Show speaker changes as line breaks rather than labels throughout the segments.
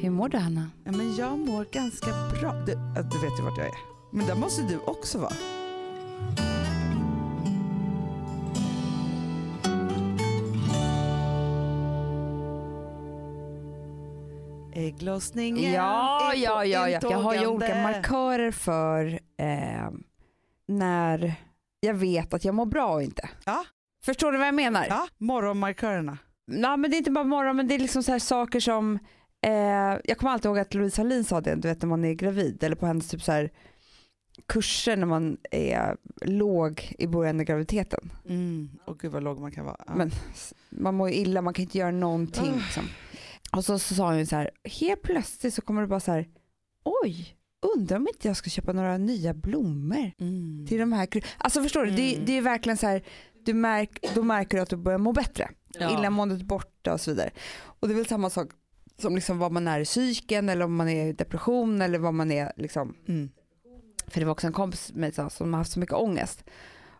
Hur mår du Hanna?
Ja, men jag mår ganska bra. Du, ja, du vet ju vart jag är. Men där måste du också vara. Ägglossningen
Ja,
är
ja,
på
ja, ja. Jag har ju olika
intågande.
markörer för eh, när jag vet att jag mår bra och inte.
Ja.
Förstår du vad jag menar?
Ja, morgonmarkörerna.
Nej, men det är inte bara morgon, men det är liksom så här saker som... Eh, jag kommer alltid ihåg att Louise Hallin sa det, du vet när man är gravid eller på hennes typ så här, kurser när man är låg i början av graviditeten.
Mm. Och gud vad låg man kan vara. Ja.
Men- Man mår ju illa, man kan inte göra någonting.
Ah.
Liksom. Och så, så sa hon ju så här, helt plötsligt så kommer det bara så här, oj, undrar om inte jag ska köpa några nya blommor
Mm.
till de här kru-" Alltså förstår du, det,
Mm.
det är verkligen så här, du märk, då märker du att du börjar må bättre
Ja.
illamåendet borta och så vidare. Och det är väl samma sak som liksom vad man är i psyken eller om man är i depression eller vad man är liksom.
Mm.
För det var också en kompis med mig som- som har haft så mycket ångest.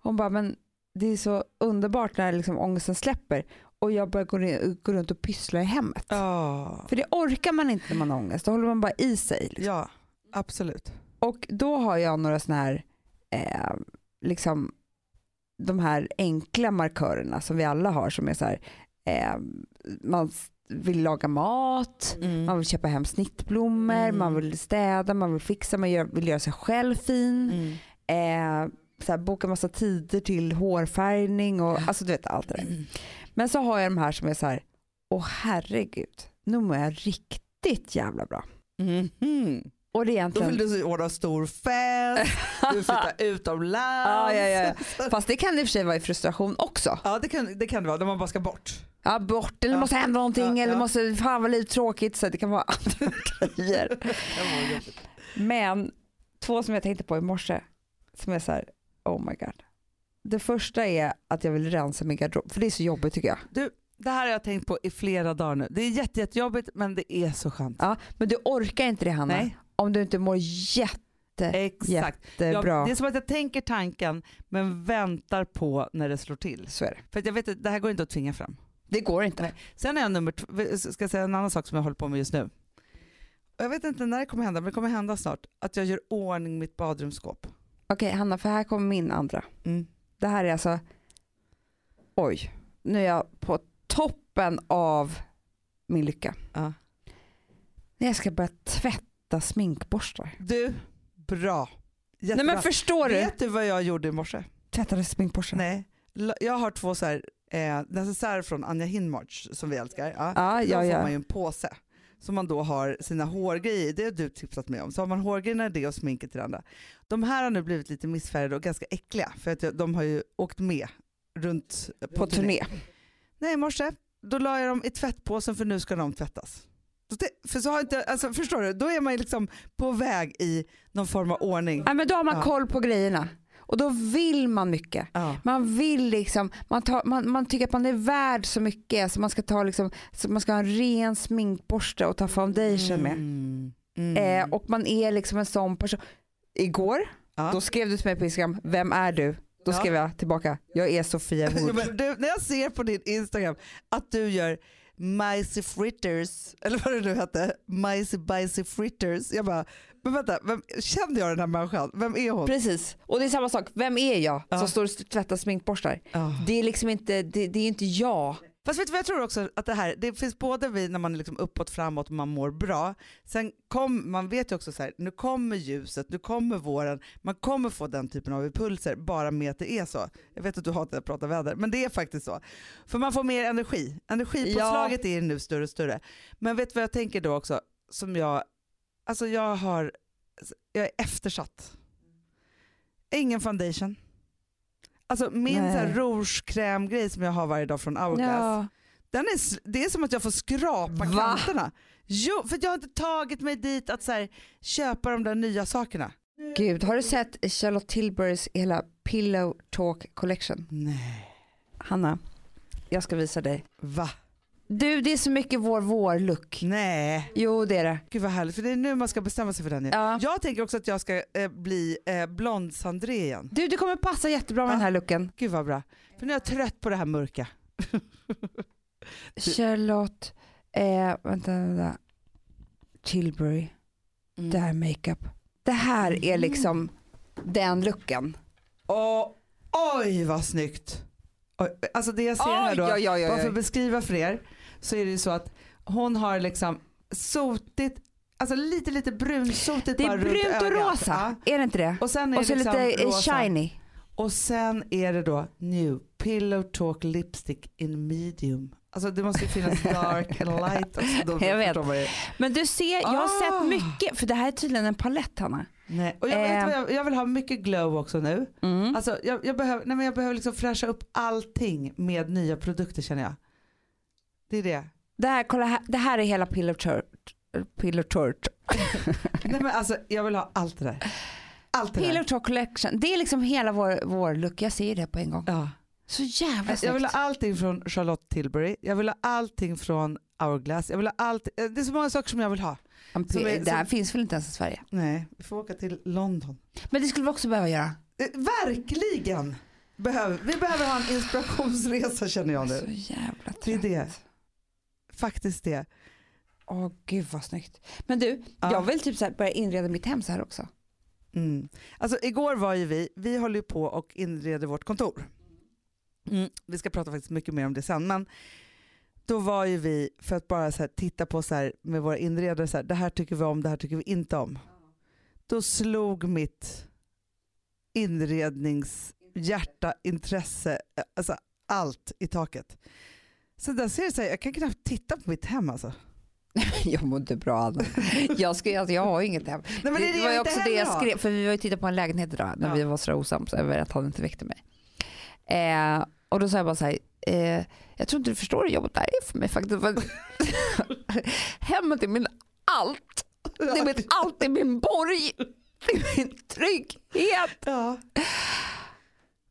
Hon bara, men det är så underbart när liksom ångesten släpper och jag börjar gå, ner- gå runt och pyssla i hemmet.
Ja.
För det orkar man inte när man har ångest, då håller man bara i sig. Liksom.
ja, absolut.
Och då har jag några sådana här, eh, liksom, de här enkla markörerna som vi alla har som är så här, eh, man s- vill laga mat, man vill köpa hem snittblommor,
Mm.
man vill städa, man vill fixa, man gör, vill göra sig själv fin,
Mm.
eh, så här, boka massa tider till hårfärgning och alltså du vet allt det där.
Mm.
Men så har jag de här som är så här, åh herregud, nu mår jag riktigt jävla bra.
Mhm.
Och det är
Då
egentligen
vill du ordna stor fest, du vill flytta
Ja,
utomlands.
ja, ja. Fast det kan i och för sig vara i frustration också.
Ja, det kan det, kan det vara, när man bara ska bort.
Ja, bort eller
Ja.
måste hända någonting
Ja,
eller
ja.
måste, fan vad livet är tråkigt. Så det kan vara andra grejer.
Det var jobbigt.
Men två som jag tänkte på i morse som är så här, oh my god. Det första är att jag vill rensa min garderob, för det är så jobbigt tycker jag.
Det här har jag tänkt på i flera dagar nu. Det är jätte, jättejobbigt men det är så skönt.
Ja, men du orkar inte det Hanna,
Nej,
om du inte mår
exakt. Jag,
jättebra.
det är som att jag tänker tanken men väntar på när det slår till.
Så är det.
För att jag vet att det här går inte att tvinga fram.
Det går inte.
Nej. Sen är jag nummer tv- ska jag säga en annan sak som jag håller på med just nu. Och Jag vet inte när det kommer hända, men det kommer hända snart. Att jag gör ordning mitt badrumsskåp.
Okej Hanna, för här kommer min andra.
Mm.
Det här är alltså, oj, nu är jag på toppen av min lycka.
Ja.
När jag ska börja tvätta sminkborstar.
Du, bra. Jättebra.
Nej men förstår du?
Vet du vad jag gjorde i morse?
Tvättade sminkborstar.
Nej. L- Jag har två så här, eh, necessärer från Anja Hinmarch som vi älskar. Ja.
Ja,
Då
ja,
får man ju
ja.
en påse som man då har sina hårgrejer i. Det har du tipsat mig om. Så har man hårgrejerna i det och sminket i det andra. De här har nu blivit lite missfärgade och ganska äckliga för att jag- de har ju åkt med runt
På turné.
Nej, i morse då la jag dem i tvättpåsen för nu ska de tvättas. Så det- För så har inte, alltså, förstår du, då är man ju liksom på väg i någon form av ordning.
Nej, men då har man
Ja.
koll på grejerna. Och då vill man mycket.
Ja.
Man vill liksom, man, tar, man, man tycker att man är värd så mycket så man ska, ta liksom, så man ska ha en ren sminkborste och ta foundation med.
Mm. Mm.
Eh, och man är liksom en sån person. Igår,
Ja.
då skrev du till mig på Instagram, vem är du? Då
Ja.
skrev jag tillbaka, jag är Sofia
Jo,
Wood.
men du, när jag ser på din Instagram att du gör Micey Fritters, eller vad det nu hette, Micey Bicey Fritters. Jag bara, men vänta, vem, kände jag den här människan? Vem är hon?
Precis, och det är samma sak, vem är jag
Ja.
som står och tvättar sminkborstar?
Ah.
Det är liksom inte, det, det är inte jag.
Fast vet du vad jag tror också att det här, det finns både vid när man är liksom uppåt, framåt och man mår bra. Sen kom, man vet ju också så här, nu kommer ljuset, nu kommer våren, man kommer få den typen av impulser bara med att det är så. Jag vet att du hatar att prata väder, men det är faktiskt så. För man får mer energi, energipåslaget är nu större och större. Men vet du vad jag tänker då också, som jag, alltså jag har, jag är eftersatt. Ingen foundation. Alltså min
Nej.
så här rouge-krämgrej som jag har varje dag från Hourglass, den är, sl- det är som att jag får skrapa
Va?
kanterna. Jo, för jag har inte tagit mig dit att så här, köpa de där nya sakerna.
Gud, har du sett Charlotte Tilburys hela Pillow Talk Collection?
Nej.
Hanna, jag ska visa dig.
Va?
Du, det är så mycket vår vår-look.
Nej.
Jo, det är det.
Gud vad härligt, för det är nu man ska bestämma sig för den. Ja.
Ja.
Jag tänker också att jag ska eh, bli eh, blond Sandré igen.
Du, det kommer passa jättebra med
Ja.
den här looken.
Gud vad bra. För nu är jag trött på det här mörka.
Charlotte, eh, vänta, vänta. Tilbury,
Mm.
det här makeup. Det här är liksom den looken.
Åh, oj vad snyggt. Oj, alltså det jag ser här då,
oj, oj,
bara för att
oj.
beskriva för er så är det ju så att hon har liksom sotigt, alltså lite lite brunsotigt
Det
bara
är
runt
brunt och
ögat.
rosa,
Ja.
är det inte det?
Och sen är
Och så
det liksom
lite eh,
rosa.
shiny.
Och sen är det då new pillow talk lipstick in medium. Alltså det måste ju finnas dark and light också. Då
Jag vet.
förstår man ju.
Men du ser, jag har
Ah.
sett mycket, för det här är tydligen en palett Hanna.
Nej. Och jag,
Eh.
vet vad jag, jag vill ha mycket glow också nu.
Mm.
Alltså jag, jag behöver, nej men jag behöver liksom fräscha upp allting med nya produkter känner jag. Det är det.
Det, här, kolla här, det här är hela Pillow Tort. Pillow Tort.
Nej men alltså jag vill ha allt det där. Allt det
Pillow
där.
Tort Collection. Det är liksom hela vår, vår look. Jag ser det på en gång.
Ja.
Så jävla
Jag vill
snyggt.
ha allting från Charlotte Tilbury. Jag vill ha allting från Hourglass. Jag vill ha allt. eh, Det är så många saker som jag vill ha.
En
som
pi-
är-
Det här
som-
finns väl inte ens i Sverige.
Nej, vi får åka till London.
Men det skulle vi också behöva göra.
Eh, Verkligen! Behöver, vi behöver ha en inspirationsresa känner jag
Så
nu.
jävla trött.
Det är det. Faktiskt det.
Åh gud vad snyggt. Men du,
Ja.
jag vill typ så här börja inreda mitt hem så här också.
Mm. Alltså igår var ju vi, vi håller ju på och inreder vårt kontor. Mm. Vi ska prata faktiskt mycket mer om det sen men då var ju vi för att bara så här, titta på så här, med våra inredare, så här, det här tycker vi om, det här tycker vi inte om. Då slog mitt inredningshjärta, intresse, eh, alltså allt i taket. Så där ser det så här, jag kan knappt titta på mitt hem alltså.
jag mår inte bra Anna. Jag, ska, alltså, jag har ju inget hem.
Nej, men det, är
var ju
jag
också det
inte
jag
heller har.
skrev, för vi var ju tittat på en lägenhet idag när
Ja.
vi var så osams över att han inte väckte mig. Eh, och då sa jag bara så här, eh, jag tror inte du förstår hur jobbigt det här är för mig faktiskt. För Hemmet är min allt, det är mitt allt, det är min borg, det är min trygghet.
Ja.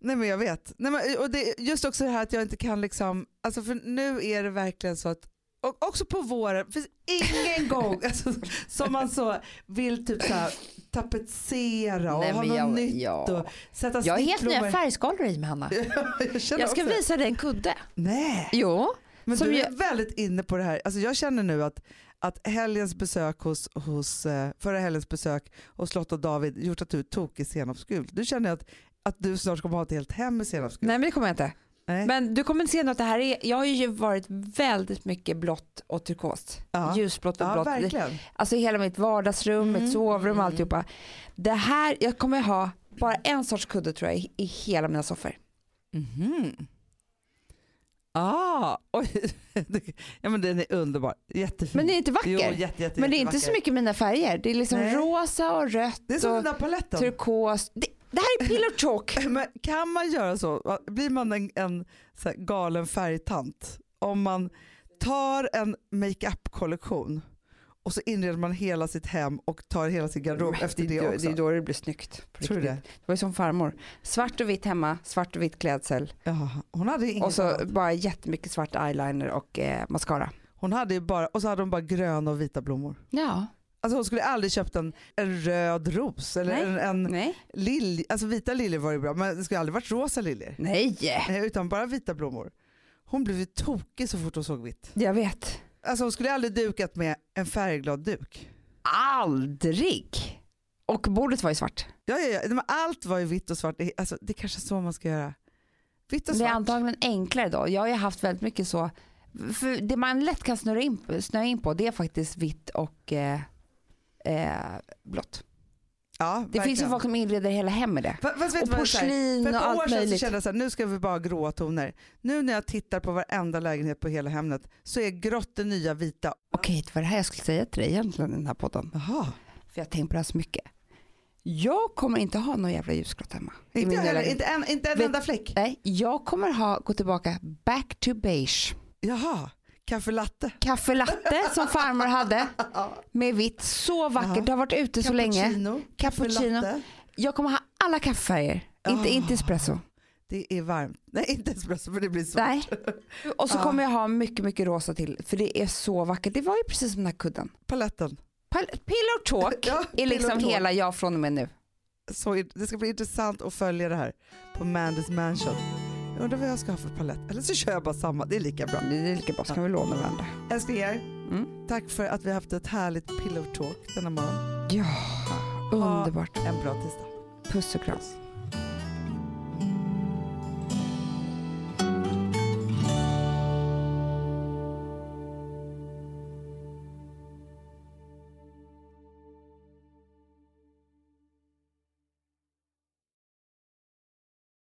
Nej men jag vet. Nej, men, och det, just också det här att jag inte kan liksom, alltså för nu är det verkligen så att, och också på våren, finns ingen gång alltså, som man så vill typ så här, tapetsera och
Nej,
ha
men
något
jag,
nytt.
ja.
och Sätta
jag har helt nya
snittblommor.
färgskalor i mig Hanna.
jag, känner
Jag ska
också det.
visa dig en kudde.
Nej,
Jo,
men
som
du är
jag-
väldigt inne på det här. Alltså, jag känner nu att, att helgens besök hos, hos, eh, förra helgens besök hos Lotta och David gjort att du är tokig i senapsgult. Du känner att, att du snart kommer ha ett helt hem i senapsgult.
nej men det kommer jag inte.
Nej.
Men du kommer inte se något, det här är, jag har ju varit väldigt mycket blått och turkost.
ja.
Ljusblått och
ja,
blått.
verkligen.
Alltså hela mitt vardagsrum,
Mm.
mitt sovrum,
Mm.
alltihopa. Det här, jag kommer ha bara en sorts kudde tror jag i, i hela mina soffor.
Mhm. Ah, oj. Ja, men den är underbar. Jättefin.
Men det är inte vacker.
Jo, jätte, jätte,
men det är inte
jättevacker.
så mycket mina färger. Det är liksom
Nej.
rosa och rött
Det är som den
och
där paletten.
turkos. Det, det här är pillow talk.
Men kan man göra så? Blir man en, en så här galen färgtant? Om man tar en makeup-kollektion och så inreder man hela sitt hem och tar hela sin garderob efter
är
det
då-
också.
det är då det blir snyggt. på
Tror du
riktigt.
det?
det var ju som farmor. Svart och vitt hemma, svart och vitt klädsel
Ja, hon hade ju inget
och så
annat.
bara jättemycket svart eyeliner och eh, mascara.
Hon hade ju bara, och så hade hon bara gröna och vita blommor.
Ja,
Alltså hon skulle aldrig köpt en, en röd ros eller
Nej.
en, en
nej.
lilj. Alltså vita liljor var ju bra men det skulle aldrig varit rosa liljor.
Nej,
Nej, Utan bara vita blommor. Hon blev ju tokig så fort hon såg vitt.
jag vet.
Alltså hon skulle aldrig dukat med en färgglad duk.
Aldrig. Och bordet var ju svart.
Ja, ja, ja. Nej, men Allt var ju vitt och svart. Det- Alltså, det är kanske är så man ska göra. Vitt och
Det är
svart.
antagligen enklare då. Jag har ju haft väldigt mycket så. För det man lätt kan snurra in, snöa in på det är faktiskt vitt och eh, eh, blått.
ja,
Det finns ju folk som inreder hela hem med det.
Fast vet du
Och
vad jag säger?
porslin
För
och
ett år
allt
sedan så
möjligt.
kände jag så här, nu ska vi bara ha gråa toner. Nu när jag tittar på varenda lägenhet på hela Hemnet så är grått det nya vita.
Okej, det var det här jag skulle säga till dig egentligen i den här podden.
Jaha.
För jag har tänkt på det här så mycket. Jag kommer inte ha någon jävla ljusgrått hemma. i
Inte,
min nya
jag heller,
lägenhet.
inte en, inte en
Vet-
enda fläck.
Nej, jag kommer ha, gå tillbaka back to beige.
Jaha, kaffe latte.
Kaffelatte som farmor hade med vitt. Så vackert,
Ja.
det har varit ute så länge.
Cappuccino.
Cappuccino.
latte.
Jag kommer ha alla kaffefärger, inte,
Ah.
inte espresso.
Det är varmt. Nej, inte espresso för det blir svart.
Nej. Och så
Ja.
kommer jag ha mycket, mycket rosa till för det är så vackert. Det var ju precis som den här kudden.
Paletten.
Pal- Pillow talk
Ja,
är liksom
pillow talk.
hela jag från och med nu.
så in- det ska bli intressant att följa det här på Mandys Mansion. Jag undrar vad jag ska ha för palett. Eller så kör jag bara samma, det är lika bra.
Det är lika bra, så kan vi låna varandra.
Älsklingar,
Mm.
Tack för att vi har haft ett härligt pillow talk denna morgon.
Underbart.
Ah. En bra tisdag.
Puss och kram.
Puss.